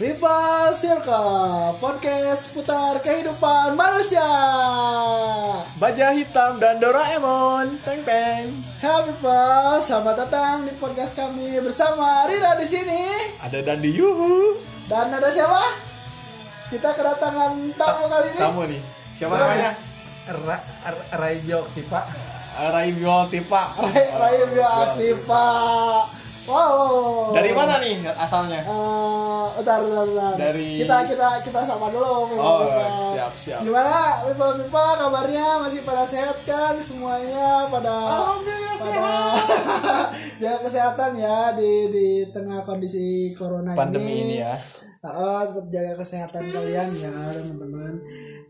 Viva Circle, ya podcast putar kehidupan manusia. Baja Hitam dan Doraemon. Teng teng. Hai Viva, selamat datang di podcast kami bersama Rina di sini Ada Dandi Yuhu. dan ada siapa? Kita kedatangan tamu kali ini. Tamu nih. Siapa Siapa namanya? Ra- Ra- Raijo Kipa Rai Tipa. Rai Rai Bioaktiva. ya, Wow. Iya, Dari mana nih asalnya? Eh, bentar, bentar, bentar. Dari- kita kita kita sama dulu. Viva, Oh, Viva. siap, siap. Gimana, Viva Viva kabarnya masih pada sehat kan semuanya pada Alhamdulillah pada jaga kesehatan ya di di tengah kondisi corona Pandemi ini ya. Oh, tetap jaga kesehatan kalian ya teman-teman.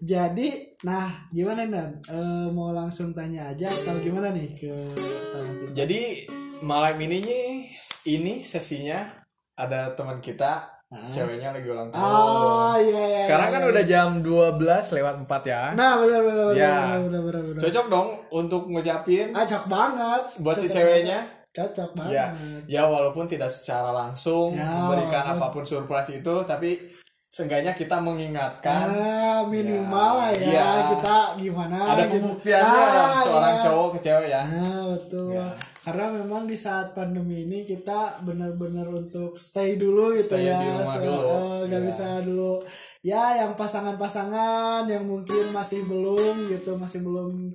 Jadi, nah gimana Nan? Eh, mau langsung tanya aja atau gimana nih ke tamu kita? Jadi malam ini nih, ini sesinya ada teman kita Ah. ceweknya lagi ulang tahun. Oh iya iya. Sekarang iya, kan iya. udah jam 12 lewat 4 ya. Nah benar benar benar Ya. benar, benar benar benar. Cocok dong untuk ngucapin Acak banget. buat Ah, si Cocok ceweknya. banget. Cocok banget. Ya, ya walaupun tidak secara langsung Ah, iya. Ya, memberikan walaupun- apapun surprise itu, tapi seenggaknya kita mengingatkan Ah, minimal lah ya, Ya. kita gimana ada gitu. pembuktiannya Ah, seorang iya. cowok ke cewek ya. Ah betul. Ya. Karena memang di saat pandemi ini kita benar-benar untuk stay dulu gitu Stay ya. di rumah So, dulu. eh, nggak Ya. bisa dulu. Ya, yang pasangan-pasangan yang mungkin masih belum gitu, masih belum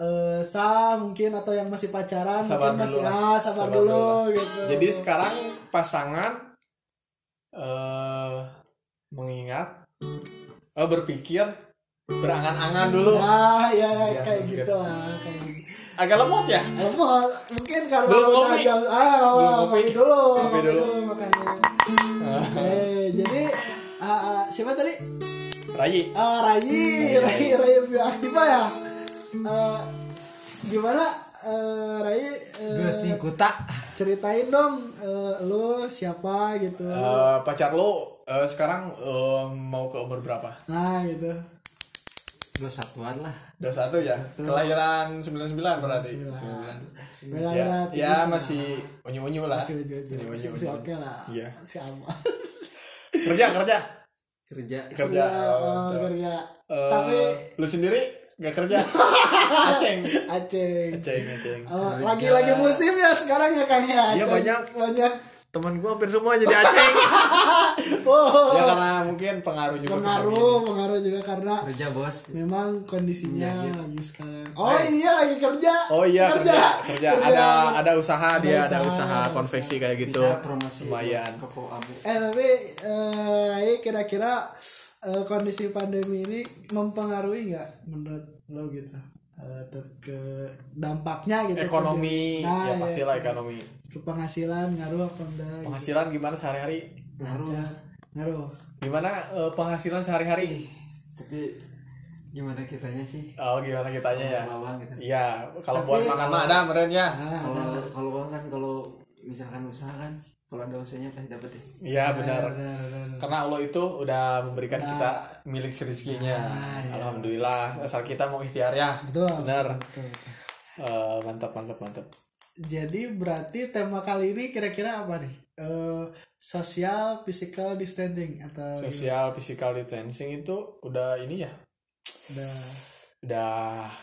eh, sah mungkin atau yang masih pacaran Sabar mungkin masih dulu ah lah. sabar, Sabar dulu, dulu gitu. Jadi sekarang pasangan eh mengingat eh, berpikir berangan-angan dulu. ah ya, Ya, kayak mungkin. gitu lah kayak gitu. Agak lemot ya. Emang, mungkin karena Belum udah ngopi. jam- ah, Belum ngopi. ngopi. dulu, Ngopi dulu. makanya. eh, jadi ah, ah, siapa tadi? Rai, Ah, Rai, Hmm. Rai, Rai bioaktiva ya. Eh, gimana eh, Rai? eh, Gusi Kuta ceritain dong eh, lu siapa gitu. eh, pacar lo eh, sekarang eh, mau ke umur berapa? Nah, gitu. Dua satuan lah 21 ya. Kelahiran 99 berarti. Sembilan. 99. Sembilan, ya, lah, ya tipis, masih unyu unyu lah Iya, nah. masih ujung-ujung. Unyu-unyu, Masih- masih unyu-unyu. oke lah. Iya. Masih aman. kerja kerja kerja kerja Ya, oh, oh, betul. kerja. Eh, Tapi lu sendiri nggak kerja aceng Aceh. aceng aceng Oh, lagi-lagi musim ya sekarang ya Kang ya. Aceh. Iya, banyak. banyak. teman gua hampir semua jadi aceng Oh, ya karena mungkin pengaruh juga pengaruh, pengaruh juga karena kerja bos memang kondisinya Iya, iya. lagi sekarang. Oh iya lagi kerja. Oh iya kerja kerja, ada ada usaha dia ada usaha, usaha konveksi kayak gitu bisa promosi lumayan ke Po Abu Eh tapi eh Rai, kira-kira eh, kondisi pandemi ini mempengaruhi nggak menurut lo gitu? Eh, ter- ke dampaknya gitu ekonomi Nah, ya iya. pastilah ekonomi ke penghasilan ngaruh apa enggak gitu. penghasilan gimana sehari-hari ngaruh Ya, ngaruh gimana eh, penghasilan sehari-hari tapi gimana kitanya sih oh gimana kitanya ya bawang gitu iya kalau buat makan mah ada meren ya ah, kalau kalau uang kan kalau misalkan usaha kan kalau ada usahanya pasti dapet ya Iya benar. benar, benar. Karena Allah itu udah memberikan kita milik rezekinya. Alhamdulillah. Asal kita mau ikhtiar ya. betul Benar. Eh, mantap mantap mantap. Jadi berarti tema kali ini kira-kira apa nih? Eh social physical distancing atau Sosial physical distancing itu udah ini ya. udah Udah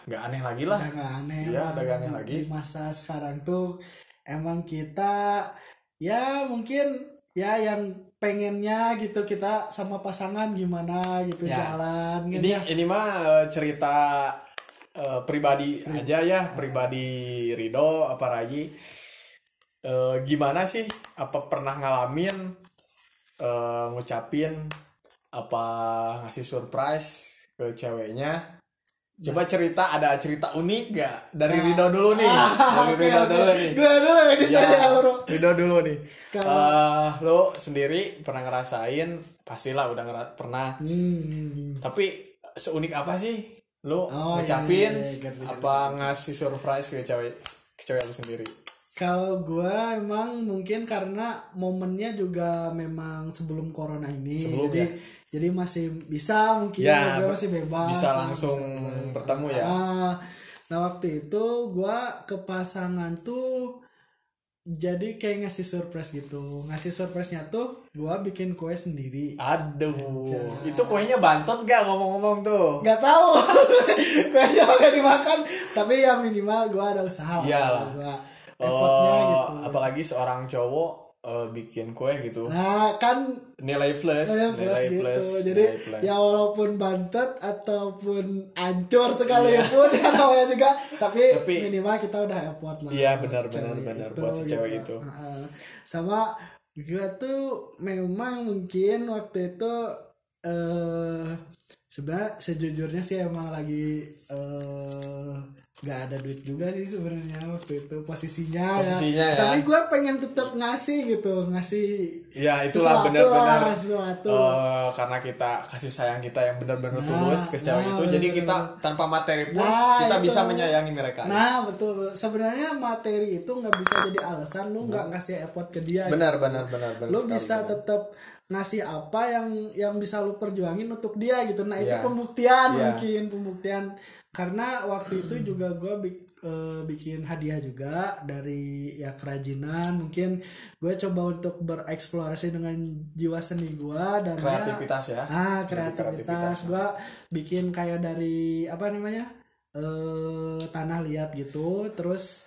nggak aneh lagi lah. udah nggak aneh? Iya, lah. udah nggak aneh lagi. Di masa sekarang tuh emang kita ya mungkin ya yang pengennya gitu kita sama pasangan gimana gitu Ya. jalan gitu ya. Ini ini mah eh, cerita eh, pribadi aja ya, pribadi Rido apa Rayi. Eh, gimana sih? Apa pernah ngalamin eh, ngucapin apa ngasih surprise ke ceweknya? Coba Nah. cerita ada cerita unik gak dari Rido dulu nih? Dari Ah, Oke, Rido oke. dulu nih. Gua dulu yang ditanya, Ya, bro. Rido dulu nih. Kalau- Eh, lo sendiri pernah ngerasain? Pastilah udah ngera- pernah Hmm. tapi eh, seunik apa sih lu Oh, ngucapin iya, iya, iya, ngerti, apa ngasih surprise ke cewek ke cewek lu sendiri? Kalau gua emang mungkin karena momennya juga memang sebelum corona ini, Sebelum jadi ya? jadi masih bisa mungkin Ya, gua ber- masih bebas, bisa langsung bertemu ya. Ah, nah waktu itu gua ke pasangan tuh jadi kayak ngasih surprise gitu ngasih surprise-nya tuh gua bikin kue sendiri Iya, Aduh, itu kuenya bantot gak ngomong-ngomong tuh? nggak tahu kuenya nggak dimakan tapi ya minimal gua ada usaha Iyalah. gua effortnya Oh, gitu apalagi seorang cowok eh, bikin kue gitu. nah kan Nilai plus, Nilai plus gitu. Jadi nilai plus. ya walaupun bantet ataupun ancur sekalipun ya namanya juga tapi, Iya. Tapi- minimal kita udah effort lah. Iya, buat benar, cewek gitu. benar, benar. Buat si cewek itu. Heeh. Sama gue tuh memang mungkin waktu itu eh sebenarnya sejujurnya sih emang lagi eh nggak ada duit juga sih sebenarnya waktu itu posisinya, Posisinya ya. tapi gue pengen tetap ngasih gitu ngasih ya itulah sesuatu benar-benar lah, sesuatu. eh, karena kita kasih sayang kita yang benar-benar Nah, tulus ke cewek nah, itu. Jadi kita benar-benar. tanpa materi pun Nah, kita itu. bisa menyayangi mereka. Nah betul sebenarnya materi itu nggak bisa jadi alasan lu nggak ngasih effort ke dia. Hmm. gitu. benar, benar, benar, benar. Lu sekali, bisa benar. tetap ngasih apa yang yang bisa lu perjuangin untuk dia gitu. Nah itu Iya. pembuktian Iya. Hmm. mungkin pembuktian karena waktu itu juga gue bikin hadiah juga dari ya kerajinan mungkin gue coba untuk bereksplorasi dengan jiwa seni gue dan ya, kreativitas ya. ah Jadi kreativitas kreativitas. gua bikin kayak dari apa namanya eh tanah liat gitu terus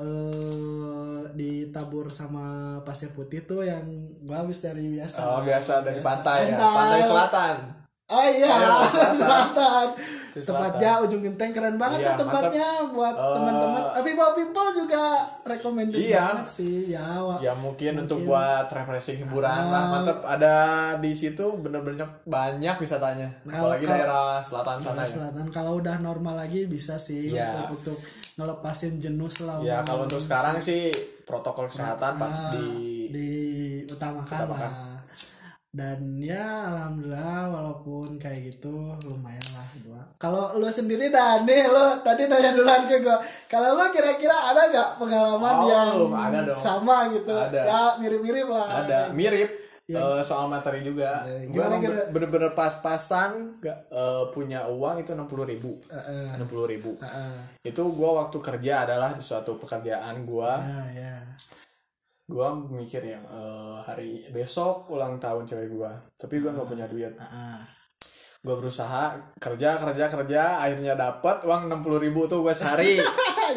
eh ditabur sama pasir putih tuh yang gua habis dari biasa Oh, biasa dari pantai ya, Pantai. pantai selatan. oh iya Ayo, selatan, selatan. Si selatan. tepatnya ujung genteng keren banget Iya, tuh tempatnya buat Eh, teman-teman people people juga recommended Iya. banget sih ya wa- Ya mungkin, untuk Mungkin. Ah. buat refreshing hiburan lah mantap ada di situ bener-bener banyak wisatanya Nah, apalagi kalau- daerah selatan sana Daerah ya. selatan kalau udah normal lagi bisa sih Iya. untuk, untuk ngelepasin jenuh selama Ya kalau untuk sekarang sih protokol Nah, kesehatan Pak Ah, di diutamakan Utamakan. lah dan ya alhamdulillah walaupun kayak gitu lumayan lah gua kalau lu sendiri Dani lu tadi nanya duluan ke gua kalau lu kira-kira ada nggak pengalaman Oh, yang ada dong. sama gitu Ada. ya mirip-mirip lah ada mirip eh, soal materi juga. Materi. Iya. Gue Gimana emang kira- bener-bener pas-pasan nggak, eh, punya uang itu enam puluh ribu, Heeh, enam puluh ribu. heeh. Itu gue waktu kerja adalah di suatu pekerjaan gue. Ah, ya Gue mikir ya eh, hari besok ulang tahun cewek gue, tapi gue nggak punya duit. Heeh. gue berusaha kerja kerja kerja akhirnya dapat uang enam puluh ribu tuh gue sehari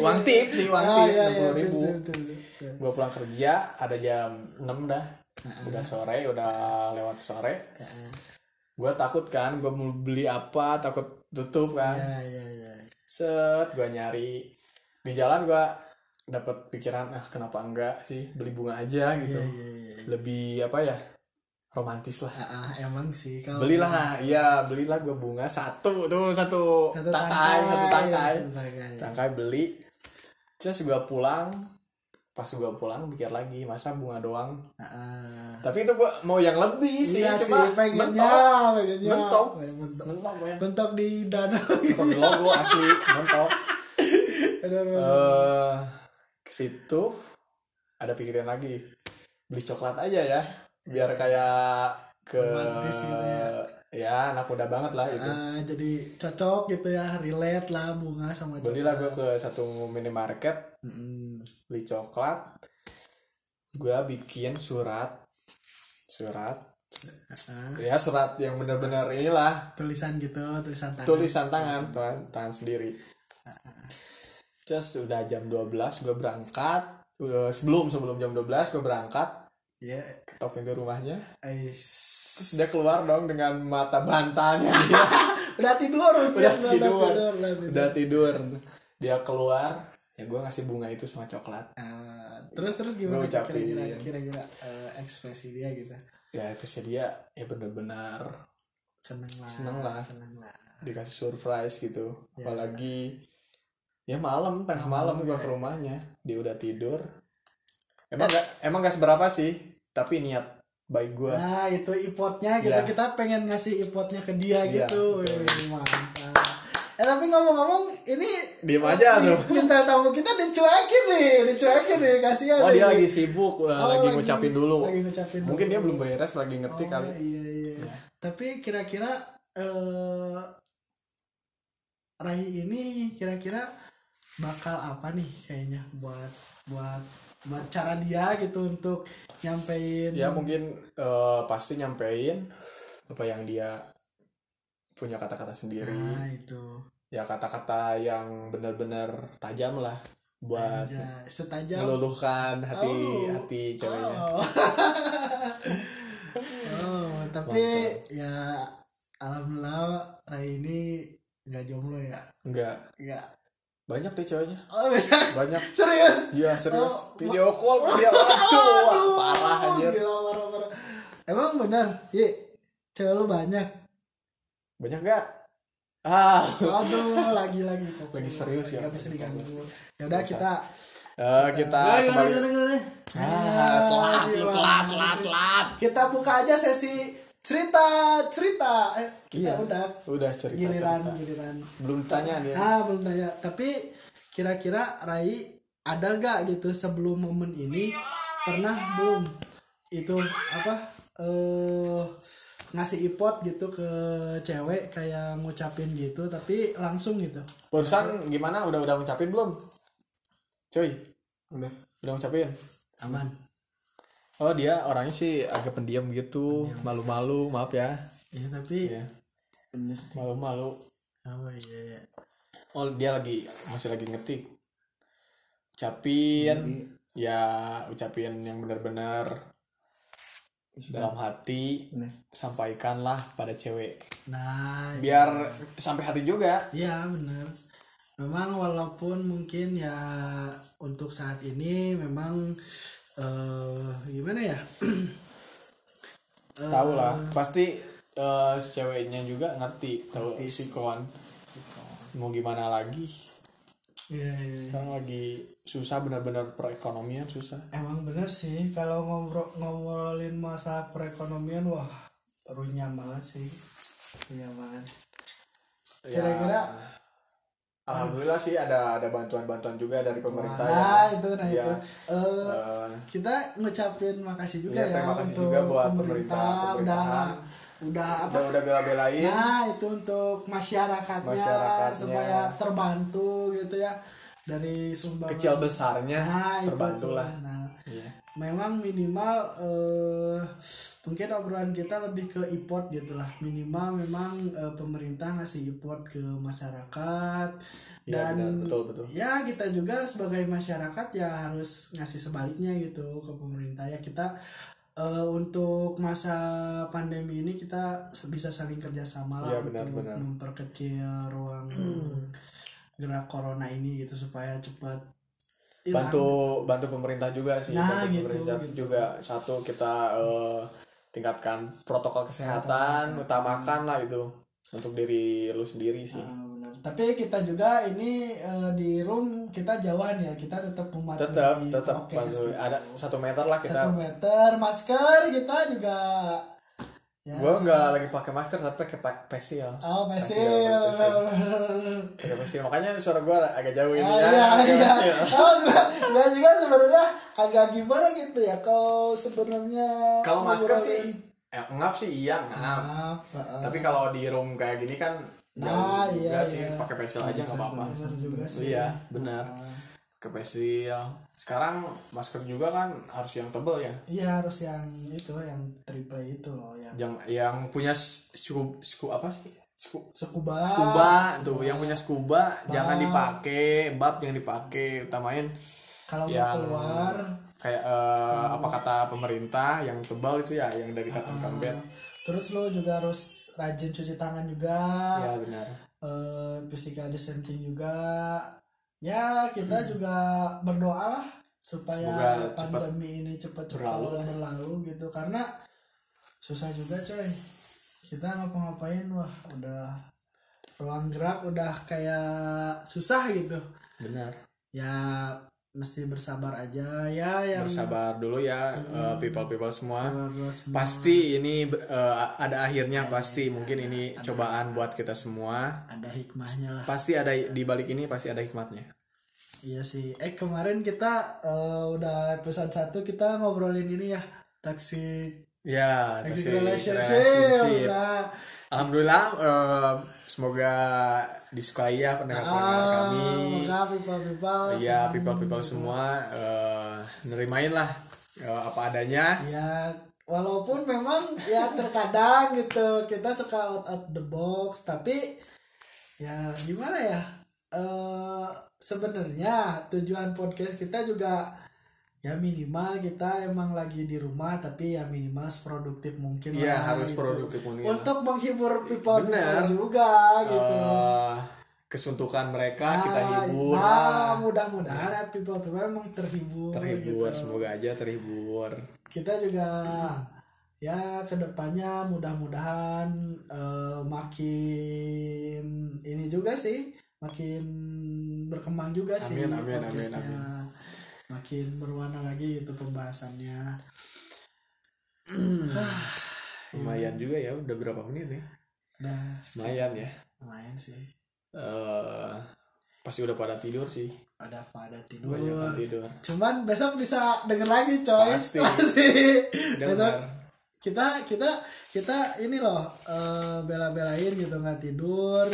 uang tip sih uang Iya, Ah, tip ya, enam ya, puluh ribu betul, betul, betul. gue pulang kerja ada jam 6 dah udah sore udah lewat sore Ah, gue takut kan gue mau beli apa takut tutup kan ya ya ya set gue nyari di jalan gue dapat pikiran ah kenapa enggak sih beli bunga aja gitu ya ya ya lebih apa ya romantis lah Ah, emang sih kalau belilah iya belilah gue bunga satu tuh satu, satu iya. tangkai satu tangkai satu tangkai. tangkai beli terus gue pulang pas gue pulang pikir lagi masa bunga doang Ah. tapi itu gue mau yang lebih sih Iya cuma sih, pengennya, mentok pengennya. Mentok. Pengen mentok. mentok men. Mentok di danau. mentok di logo asli mentok Aduh, eh ke situ ada pikiran lagi beli coklat aja ya biar kayak ke Romantis gitu ya. ya anak muda banget lah itu ah, jadi cocok gitu ya, relate lah bunga sama belilah gue ke satu minimarket Mm-mm. beli coklat gue bikin surat surat Ah, ya surat yang benar-benar inilah tulisan gitu, tulisan Ah, tangan. tulisan tangan tangan, tangan sendiri terus udah jam 12 gue berangkat Udah sebelum sebelum jam 12 gue berangkat Iya. ketok pintu rumahnya Ais. terus dia keluar dong dengan mata bantalnya dia Udah tidur, udah udah tidur udah tidur. udah tidur dia keluar ya gue ngasih bunga itu sama coklat Ah, terus terus gimana Gua ucapin. kira-kira kira-kira eh, ekspresi dia gitu. ya itu sih dia ya benar-benar Seneng lah. Seneng lah. Seneng lah. dikasih surprise gitu apalagi ya malam tengah malam Ya. gua ke rumahnya dia udah tidur Eh. emang nggak emang nggak seberapa sih tapi niat baik gua Nah itu ipotnya gitu Iya. kita pengen ngasih ipotnya ke dia Iya, gitu. betul. Wih, mantap. Eh tapi ngomong-ngomong ini Diem aja ini lu. Bintang tamu kita dicuekin nih, dicuekin nih kasihan. oh dia nih. lagi sibuk eh, Ya. Oh, lagi ngucapin dulu Lagi ngucapin mungkin dulu. dia belum beres lagi ngetik Oh, kali Iya iya. Tapi kira-kira eh Rai ini kira-kira bakal apa nih kayaknya buat buat ma- cara dia gitu untuk nyampein ya mungkin eh, pasti nyampein apa yang dia punya kata-kata sendiri nah itu ya kata-kata yang benar-benar tajam lah buat Aja. setajam meluluhkan hati Oh. hati ceweknya Oh. oh, tapi ya alhamdulillah Rai ini nggak jomblo ya. enggak Nggak. banyak deh ceweknya Oh, bisa. banyak Serius. iya serius Oh. video call video aduh wah, parah anjir Gila, parah, parah. Emang benar, Yi, cewek lu banyak. banyak enggak ah Aduh, lagi lagi Lagi serius ya. Gak bisa diganggu. Ya udah kita Eh, kita Gimana, gimana, kembali gimana, gimana? ah telat lu, gimana? telat telat telat kita buka aja sesi cerita cerita. Eh, kita Iya. udah udah cerita giliran cerita Iya. giliran. belum tanya dia Ah belum tanya. Tapi kira-kira Rai ada gak gitu sebelum momen ini pernah belum itu apa eh ngasih ipot gitu ke cewek kayak ngucapin gitu tapi langsung gitu. barusan gimana udah udah ngucapin belum cuy Udah. udah ngucapin Aman. Oh dia orangnya sih agak pendiam gitu, malu-malu, maaf ya. Ya tapi Iya. Bener. Malu-malu. oh iya iya. Oh dia lagi masih lagi ngetik. Ucapin, Iya. ya ucapin yang benar-benar dalam hati Ya Bener. sampaikanlah pada cewek. Nah, Biar sampai hati juga. Iya benar. Memang walaupun mungkin ya untuk saat ini memang eh gimana ya? Eh, Tahu lah, pasti eh, ceweknya juga ngerti tahu sikon. Mau gimana lagi? Iya iya. iya. Sekarang lagi susah benar-benar perekonomian susah. Emang bener sih kalau ngobrol ngobrolin masa perekonomian wah runyam banget sih. Iya banget. Ya, Kira-kira- alhamdulillah sih ada ada bantuan-bantuan juga dari pemerintah Nah yang- itu nah ya, itu. Eh, eh, kita ngucapin makasih juga Iya, ya, terima kasih untuk juga buat pemerintah, udah pemerintahan. udah Nah, apa udah udah bela-belain Nah, itu untuk masyarakatnya, Iya. Masyarakatnya. supaya terbantu gitu ya dari sumbangan. kecil ya, besarnya Nah, itu terbantu tuh. lah Nah, Iya. memang minimal eh mungkin obrolan kita lebih ke import gitu lah. Minimal memang eh, pemerintah ngasih import ke masyarakat dan Iya, benar, betul betul ya kita juga sebagai masyarakat ya harus ngasih sebaliknya gitu ke pemerintah ya kita eh, untuk masa pandemi ini kita se- bisa saling kerjasama lah Iya, untuk benar, benar. memperkecil ruang gerak corona ini gitu supaya cepat hilang. bantu bantu pemerintah juga sih Iya. Nah, bantu gitu, pemerintah gitu. juga satu kita eh, tingkatkan protokol kesehatan utamakan lah itu untuk diri lu sendiri sih Ah, benar. tapi kita juga ini eh, di room kita jauhan ya kita tetap mematuhi tetap tetap prokes bantu gitu. ada satu meter lah kita satu meter masker kita juga ya. gue nggak lagi pakai masker tapi pakai pa- facial Oh, masih. Facial, facial. pakai facial makanya suara gue agak jauh ini ya iya, pakai iya. facial. Oh, gua, gua juga sebenarnya agak gimana gitu ya kalau sebenarnya kalau masker ngobrolin. sih eh, ngap sih iya ngap Ah, ah, tapi kalau di room kayak gini kan Nah, jauh iya, juga sih iya. pakai facial aja nggak apa-apa benar juga sih. iya benar pakai facial sekarang masker juga kan harus yang tebel ya Iya, harus yang itu yang triple itu loh yang yang yang punya sku sku apa sih sku scuba. scuba tuh ya. yang punya scuba jangan dipakai bab yang dipakai utamain Kalau mau yang keluar kayak eh, apa kata pemerintah yang tebal itu ya yang dari kata ah, kampret terus lo juga harus rajin cuci tangan juga. ya benar eh physical distancing juga ya kita juga berdoa lah supaya Hmm. Semoga cepat pandemi ini cepat berlalu berlalu, lah. berlalu gitu karena susah juga coy kita ngapa-ngapain wah udah ruang gerak udah kayak susah gitu benar ya mesti bersabar aja ya Hmm. yang bersabar dulu ya people people semua bersabar semua. pasti ini eh, ada akhirnya pasti mungkin ini cobaan buat kita semua ada hikmahnya lah pasti ada di balik ini pasti ada hikmatnya Iya sih. Eh kemarin kita eh, udah episode satu kita ngobrolin ini ya taksi ya taksi toxic relationship. relationship. Nah Alhamdulillah, eh, semoga disukai ya pendengar-pendengar Ah, kami. maka people people. Iya, people-people semua eh, nerimain lah eh, apa adanya. Ya, walaupun memang ya terkadang gitu kita suka out of the box, tapi ya gimana ya? Eh sebenarnya tujuan podcast kita juga ya minimal kita emang lagi di rumah tapi ya minimal seproduktif mungkin lah, Iya, harus gitu. produktif mungkin. untuk menghibur people, Bener. juga gitu. Eh, kesuntukan mereka kita Nah, hibur nah, lah. mudah-mudahan ya, people people emang terhibur. terhibur gitu. semoga aja terhibur kita juga ya kedepannya mudah-mudahan eh, makin ini juga sih makin berkembang juga sih Amin, amin, amin, podcastnya. amin. makin berwarna lagi itu pembahasannya lumayan juga ya udah berapa menit nih udah lumayan ya lumayan sih Eh pasti udah pada tidur sih ada pada tidur banyak yang tidur cuman besok bisa denger lagi coy Pasti. besok dengar kita kita kita ini loh eh, bela-belain gitu nggak tidur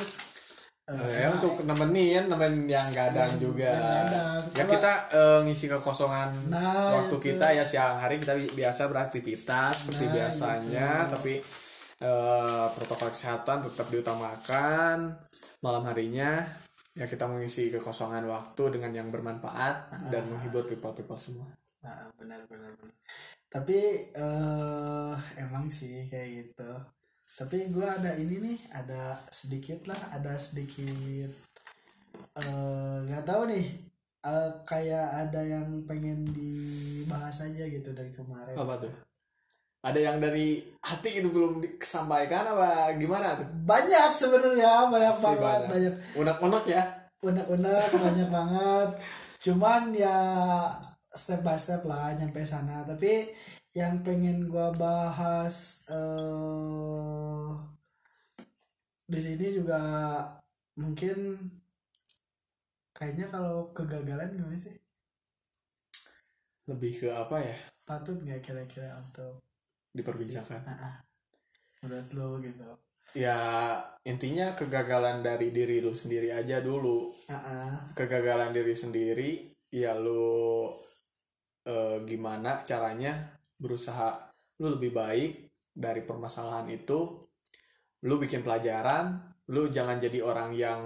Eh, ya, untuk nemenin nemen yang kadang juga yang kadang. ya Coba- kita eh, ngisi kekosongan Nah, waktu itu. kita ya siang hari kita bi- biasa beraktivitas seperti Nah, biasanya tapi eh, protokol kesehatan tetap diutamakan malam harinya ya kita mengisi kekosongan waktu dengan yang bermanfaat Ah. dan menghibur people people semua Nah, benar benar benar. Tapi eh emang sih kayak gitu. Tapi gue ada ini nih, ada sedikit lah, ada sedikit eh nggak tahu nih. eh, kayak ada yang pengen dibahas aja gitu dari kemarin. apa tuh ada yang dari hati itu belum disampaikan apa gimana tuh Banyak sebenarnya, banyak Pasti banget, banyak. banyak unek-unek ya unek-unek banyak banget cuman ya step by step lah nyampe sana tapi yang pengen gua bahas eh di sini juga mungkin kayaknya kalau kegagalan gimana sih lebih ke apa ya patut nggak kira-kira untuk diperbincangkan menurut lo gitu ya intinya kegagalan dari diri lu sendiri aja dulu Ah, ah. kegagalan diri sendiri ya lu eh, gimana caranya berusaha lu lebih baik dari permasalahan itu lu bikin pelajaran lu jangan jadi orang yang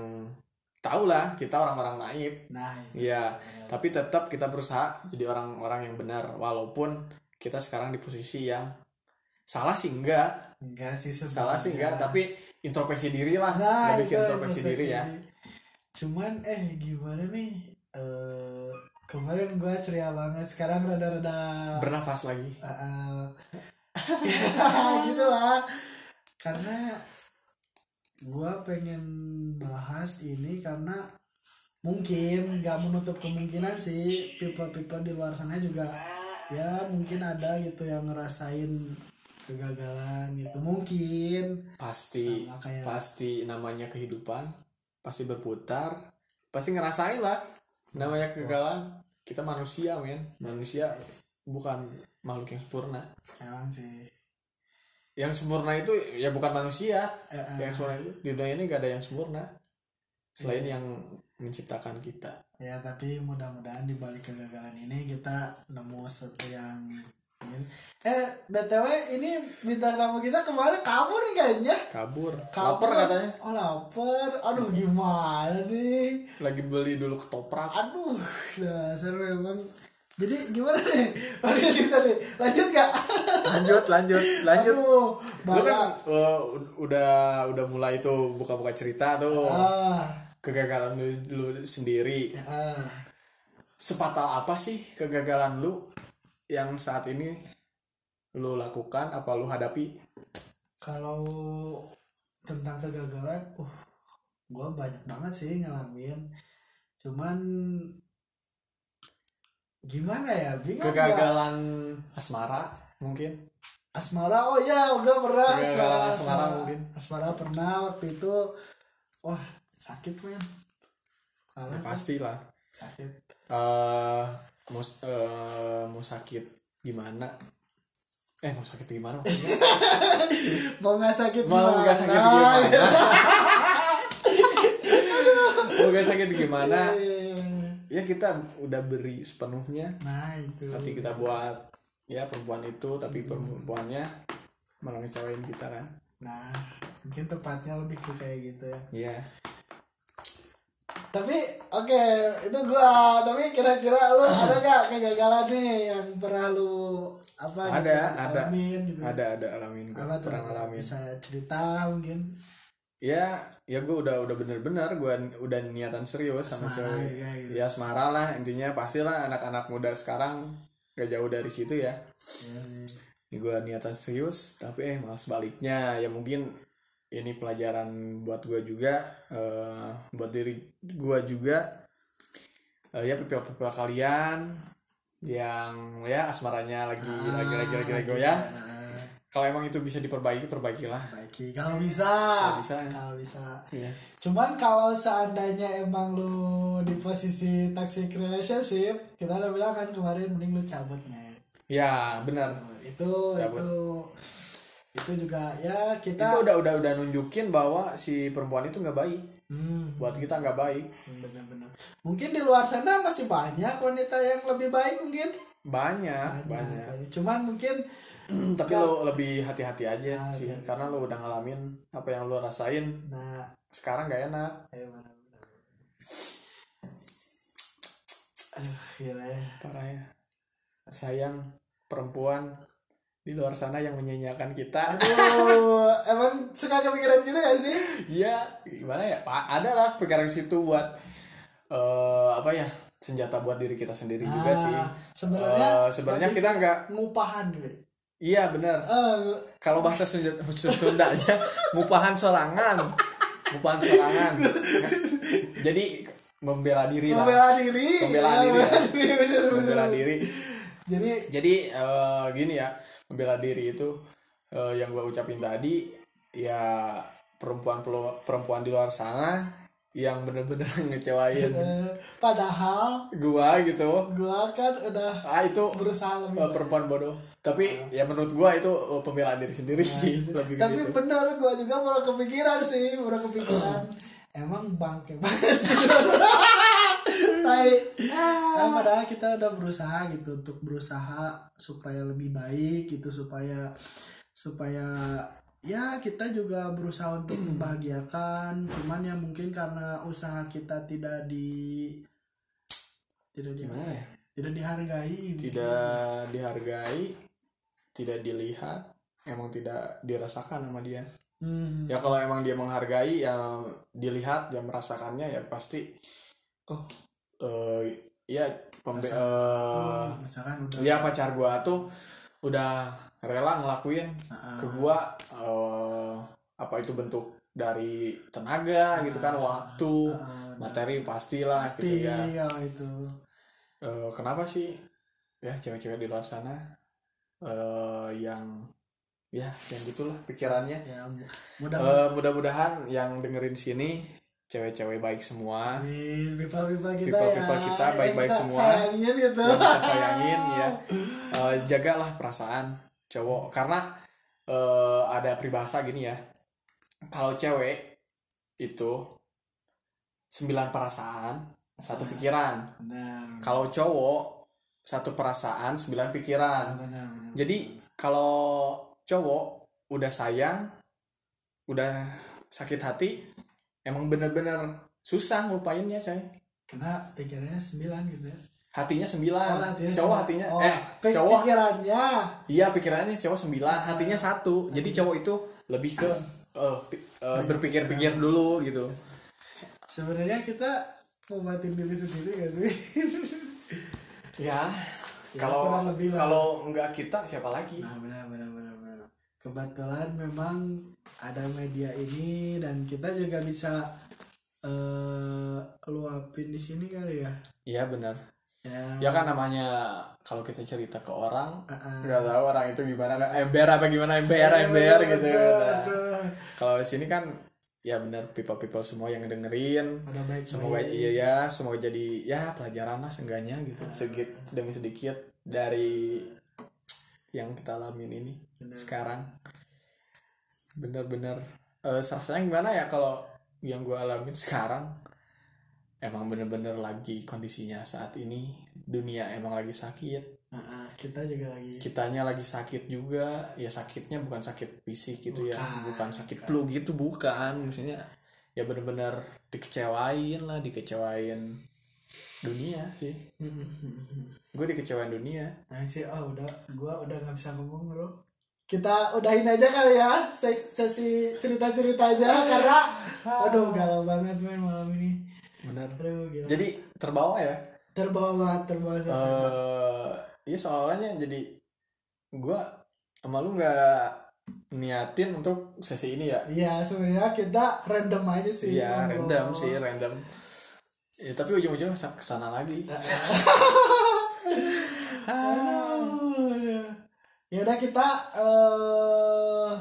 tau lah kita orang-orang naif nah itu. ya tapi tetap kita berusaha jadi orang-orang yang benar walaupun kita sekarang di posisi yang salah sih enggak enggak sih salah sih enggak sebenarnya. tapi introspeksi diri lah Nah, lebih itu ke introspeksi introspeksi diri ya diri. Cuman eh gimana nih? eh kemarin gua ceria banget, sekarang rada-rada bernafas lagi eh, eh, ya, gitu lah. Karena gua pengen bahas ini karena mungkin nggak menutup kemungkinan sih people-people di luar sana juga ya mungkin ada gitu yang ngerasain kegagalan gitu mungkin pasti Sama kayak- pasti namanya kehidupan pasti berputar pasti ngerasain lah namanya kegagalan kita manusia men manusia bukan makhluk yang sempurna emang sih yang sempurna itu ya bukan manusia Eh, eh. yang sempurna itu di dunia ini gak ada yang sempurna selain yang menciptakan kita Ya tapi mudah-mudahan di balik kegagalan ini kita nemu sesuatu yang Eh BTW ini bintang tamu kita kemarin kabur nih kayaknya kabur kabur. lapar katanya Oh lapar Aduh gimana nih lagi beli dulu ketoprak Aduh dasar memang Jadi gimana nih Podcast kita nih Lanjut gak? lanjut lanjut lanjut Aduh lu kan Banyak eh, ud- udah udah mulai tuh buka-buka cerita tuh ah, kegagalan lu, lu sendiri ah. sepatal apa sih kegagalan lu yang saat ini lu lakukan apa lu hadapi Kalau tentang kegagalan, uh, gue banyak banget sih ngalamin. Cuman gimana ya, bingung gua. kegagalan asmara mungkin Ya, Asmara, oh ya, gue pernah Kegagalan asmara, asmara mungkin. Asmara pernah waktu itu, wah sakit men, ya, Parah, pastilah sakit. eh mau eh, mau sakit gimana eh mau sakit gimana maksudnya mau nggak sakit mau nggak sakit gimana? gimana mau nggak sakit gimana ya kita udah beri sepenuhnya nah itu tapi kita buat ya perempuan itu tapi perempuannya malah ngecewain kita kan nah mungkin tepatnya lebih ke kayak gitu ya iya tapi oke itu gua tapi kira-kira lu ada gak kegagalan nih yang pernah lu apa gitu, ada ada alamin gitu ada ada alamin gue apa tuh pernah ngalamin bisa cerita mungkin ya ya gue udah udah bener-bener gue udah niatan serius sama Asmara cewek ya, gitu. ya asmara lah intinya pastilah anak-anak muda sekarang gak jauh dari situ ya Iya gue Ya, niatan serius tapi eh malas baliknya ya mungkin ini pelajaran buat gue juga eh, buat diri gue juga Eh, ya pepil-pepil kalian yang ya asmaranya lagi lagi lagi lagi lagi ya Nah, kalau emang itu bisa diperbaiki perbaikilah baiki kalau bisa Kalau bisa, ya. kalau bisa Iya. Cuman kalau seandainya emang lu di posisi toxic relationship, kita udah bilang kan kemarin mending lu cabut men. ya benar Itu Cabut. itu itu juga ya kita itu udah udah udah nunjukin bahwa si perempuan itu nggak baik Hmm, buat kita nggak baik benar-benar. Mungkin di luar sana masih banyak wanita yang lebih baik mungkin. banyak Ah, banyak, Cuman mungkin tapi lo lebih hati-hati aja Nah, sih benar. karena lo udah ngalamin apa yang lo rasain nah sekarang nggak enak ayo mana benar. Aduh, gila ya. parah ya sayang perempuan di luar sana yang menyanyiakan kita Aduh, emang suka kepikiran gitu gak sih? ya gimana ya pak ada lah pikiran situ buat eh apa ya senjata buat diri kita sendiri Iya juga sih Ah, Sebenarnya Eh, sebenarnya kita nggak ngupahan gitu. iya benar Eh, kalau bahasa Sunda Sundanya mupahan sorangan mupahan sorangan jadi membela diri lah membela diri. ya, Membela diri, membela ya. diri, bener, bener. membela diri Jadi jadi eh, gini ya membela diri itu eh, yang gue ucapin tadi ya perempuan perempuan di luar sana yang bener-bener ngecewain eh, padahal gua gitu gua kan udah ah itu berusaha lebih. eh, baik. perempuan bodoh tapi ya menurut gua itu eh, pembelaan diri sendiri sih lebih ke Tapi situ. bener gua juga baru kepikiran sih, baru kepikiran. Emang bangke banget sih. Tai. Nah, padahal kita udah berusaha gitu untuk berusaha supaya lebih baik gitu supaya supaya ya kita juga berusaha untuk membahagiakan cuman ya mungkin karena usaha kita tidak di tidak di gimana ya tidak dihargai tidak dihargai, tidak dilihat, emang tidak dirasakan sama dia. Hmm. Ya kalau emang dia menghargai, yang dilihat, yang merasakannya ya pasti, oh, eh, ya pembe, eh, Oh, misalkan udah ya pacar gua tuh udah rela ngelakuin ke Ah. gua eh, apa itu bentuk dari tenaga gitu kan, waktu, Ah, materi pastilah pasti gitu ya. kalau Iya, itu Eh, kenapa sih ya cewek-cewek di luar sana eh yang ya yang gitulah pikirannya ya Eh, mudah mudah-mudahan yang dengerin sini cewek-cewek baik semua mudahan pipa pipa kita ya Pipa-pipa Eh, kita yang baik-baik kita semua. sayangin gitu yang kita sayangin ya Eh, jagalah perasaan cowok karena eh, ada peribahasa gini ya kalau cewek itu sembilan perasaan satu pikiran benar kalau cowok satu perasaan sembilan Ah, pikiran benar benar. Jadi kalau cowok udah sayang, udah sakit hati, emang bener-bener susah ngelupainnya coy. kena pikirannya sembilan gitu ya Hatinya sembilan, Oh, hatinya Ah, cowok sembilan. hatinya Oh, eh pik- cowok pikirannya iya pikirannya cowok sembilan, Ah. hatinya satu. Jadi cowok itu lebih ke eh, pi- eh, berpikir-pikir dulu gitu. sebenarnya kita ngobatin diri sendiri gak sih Ya Ya, kalau kurang lebih lah. kalau nggak kita siapa lagi? nah benar benar benar benar kebetulan memang ada media ini dan kita juga bisa eh luapin di sini kali ya Iya benar. ya, Ya kan Iya namanya kalau kita cerita ke orang Uh-uh. nggak tahu orang itu gimana kan ember apa gimana ember ember gitu Nah, Aduh. kalau di sini kan ya benar people people semua yang dengerin ada baik semoga iya ya semoga jadi ya pelajaran lah seenggaknya gitu sedikit demi sedikit dari yang kita alamin ini sekarang bener-bener eh rasanya gimana ya kalau yang gue alamin sekarang emang bener-bener lagi kondisinya saat ini dunia emang lagi sakit Heeh. Nah, ah, kita juga lagi kitanya lagi sakit juga ya sakitnya bukan sakit fisik gitu ya Bukan, bukan sakit flu gitu bukan maksudnya ya bener-bener dikecewain lah dikecewain dunia sih gue dikecewain dunia nah sih oh udah gua udah nggak bisa ngomong bro kita udahin aja kali ya se- sesi cerita cerita Iya. aja karena Ah. aduh galau banget men malam ini bener aduh gila jadi terbawa ya terbawa banget terbawa Iya, sesat. eh iya soalnya jadi gua sama lu nggak niatin untuk sesi ini ya Iya sebenarnya kita random aja sih. iya ngobrol. random sih random ya, tapi ujung-ujung sa- kesana lagi Nah, ah. Aduh. Ya udah kita eh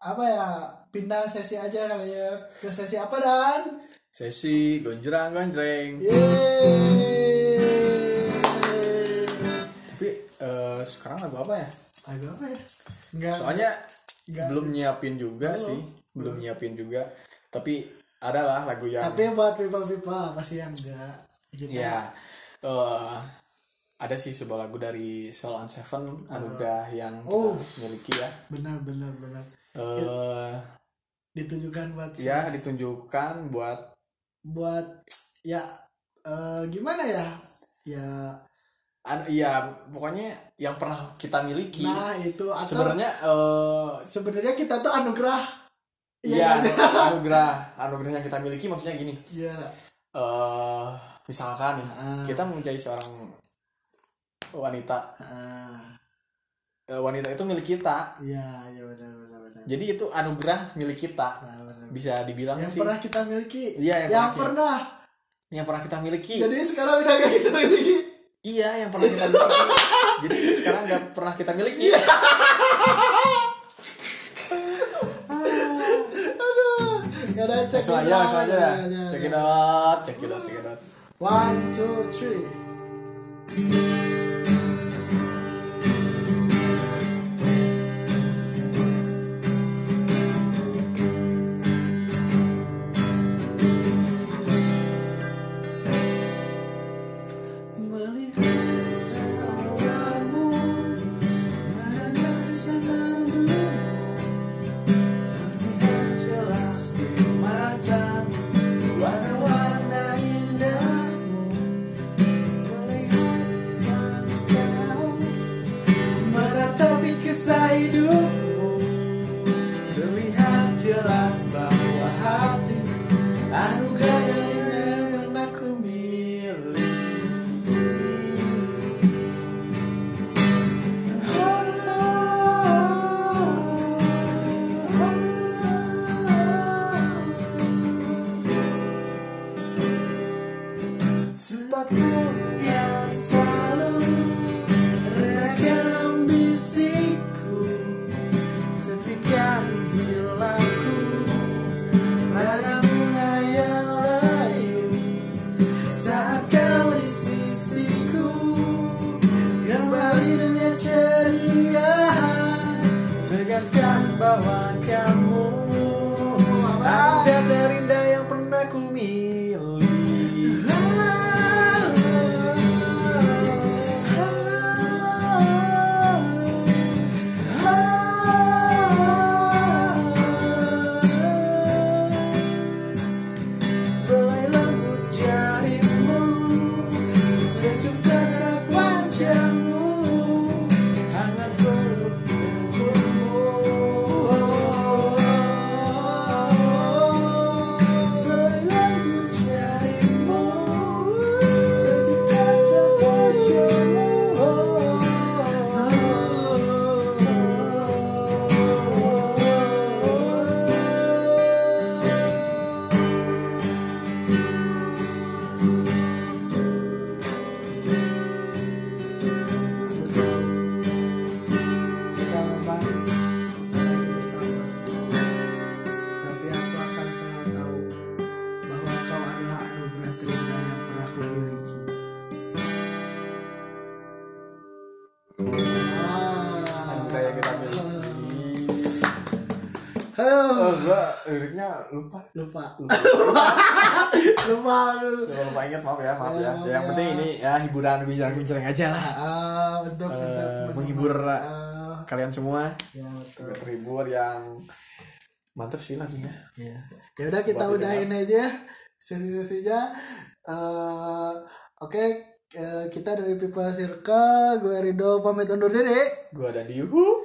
apa ya pindah sesi aja kali ya ke sesi apa dan? sesi gonjrang gonjreng Yeay. tapi eh, sekarang lagu apa ya Lagu apa ya? Enggak. soalnya Nggak. belum nyiapin juga sih belum nyiapin juga tapi adalah lagu yang Tapi buat people people apa sih yang enggak? Gitu. Ya, eh, ada sih sebuah lagu dari Soul on Seven Anugerah yang kita Ah. Oh. miliki ya. Benar benar benar. eh Ditujukan buat ya ditunjukkan buat buat ya eh, gimana ya? Ya an- ya pokoknya yang pernah kita miliki. Nah itu atau Sebenarnya eh sebenarnya kita tuh anugerah. ya kan? anugerah anugerah yang kita miliki maksudnya gini. Iya. eh misalkan Ah. kita menjadi seorang wanita, Ah, Eh, wanita itu milik kita. Iya, iya benar benar benar. Jadi itu anugerah milik kita. Nah, benar. Bisa dibilang Yang sih pernah kita miliki. Iya, yang yang, pernah. pernah yang pernah kita miliki. Jadi sekarang udah gak kita miliki. Iya, yang pernah kita miliki. Jadi sekarang nggak pernah kita miliki. Iya. Aduh. Gak ada cek Langsung aja, langsung aja. Iya, Check it out, check it out, check it out. One, two, three. Melihat sekolahmu Banyak senandungmu Terlihat jelas di matamu Warna-warna indahmu Melihat langkahmu Meratapi kisah hidupmu Terlihat jelas bahwa hati Anugerah yang pernah ku Oh, oh, Sepatu yang selalu Rekan ambisiku Tepikan hilangku Pada bunga yang layu Saat kau di sisiku Kembali dunia ceria Tegaskan bahwa kamu Ada terindah yang pernah ku miliki Belai lembut jarimu Sejuk tetap wajahmu Hangat peluk tubuhmu Aduh, Eh, gua liriknya lupa. lupa. Lupa, Lupa. aduh. lupa, lupa ingat maaf ya, maaf ya. Maaf Yang ya. penting ini ya hiburan bincang-bincang aja lah. Ah, betul, betul, betul. Eh, menghibur lah. Ah, Kalian semua ya betul. terhibur yang mantap sih lagunya. Ya. Ya udah kita Buat udahin aja sesi-sesinya. Eh, Oke, eh, kita dari People Circle, gue Rido pamit undur diri. Gua ada di Yuhu.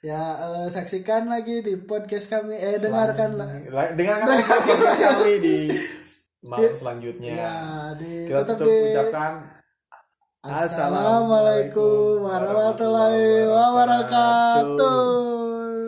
Ya, eh, saksikan lagi di podcast kami. Eh, dengarkan lah. La- Dengarkan lagi podcast kami di malam selanjutnya. Ya, di, Kita tetap tutup di- ucapkan Assalamualaikum warahmatullahi wabarakatuh.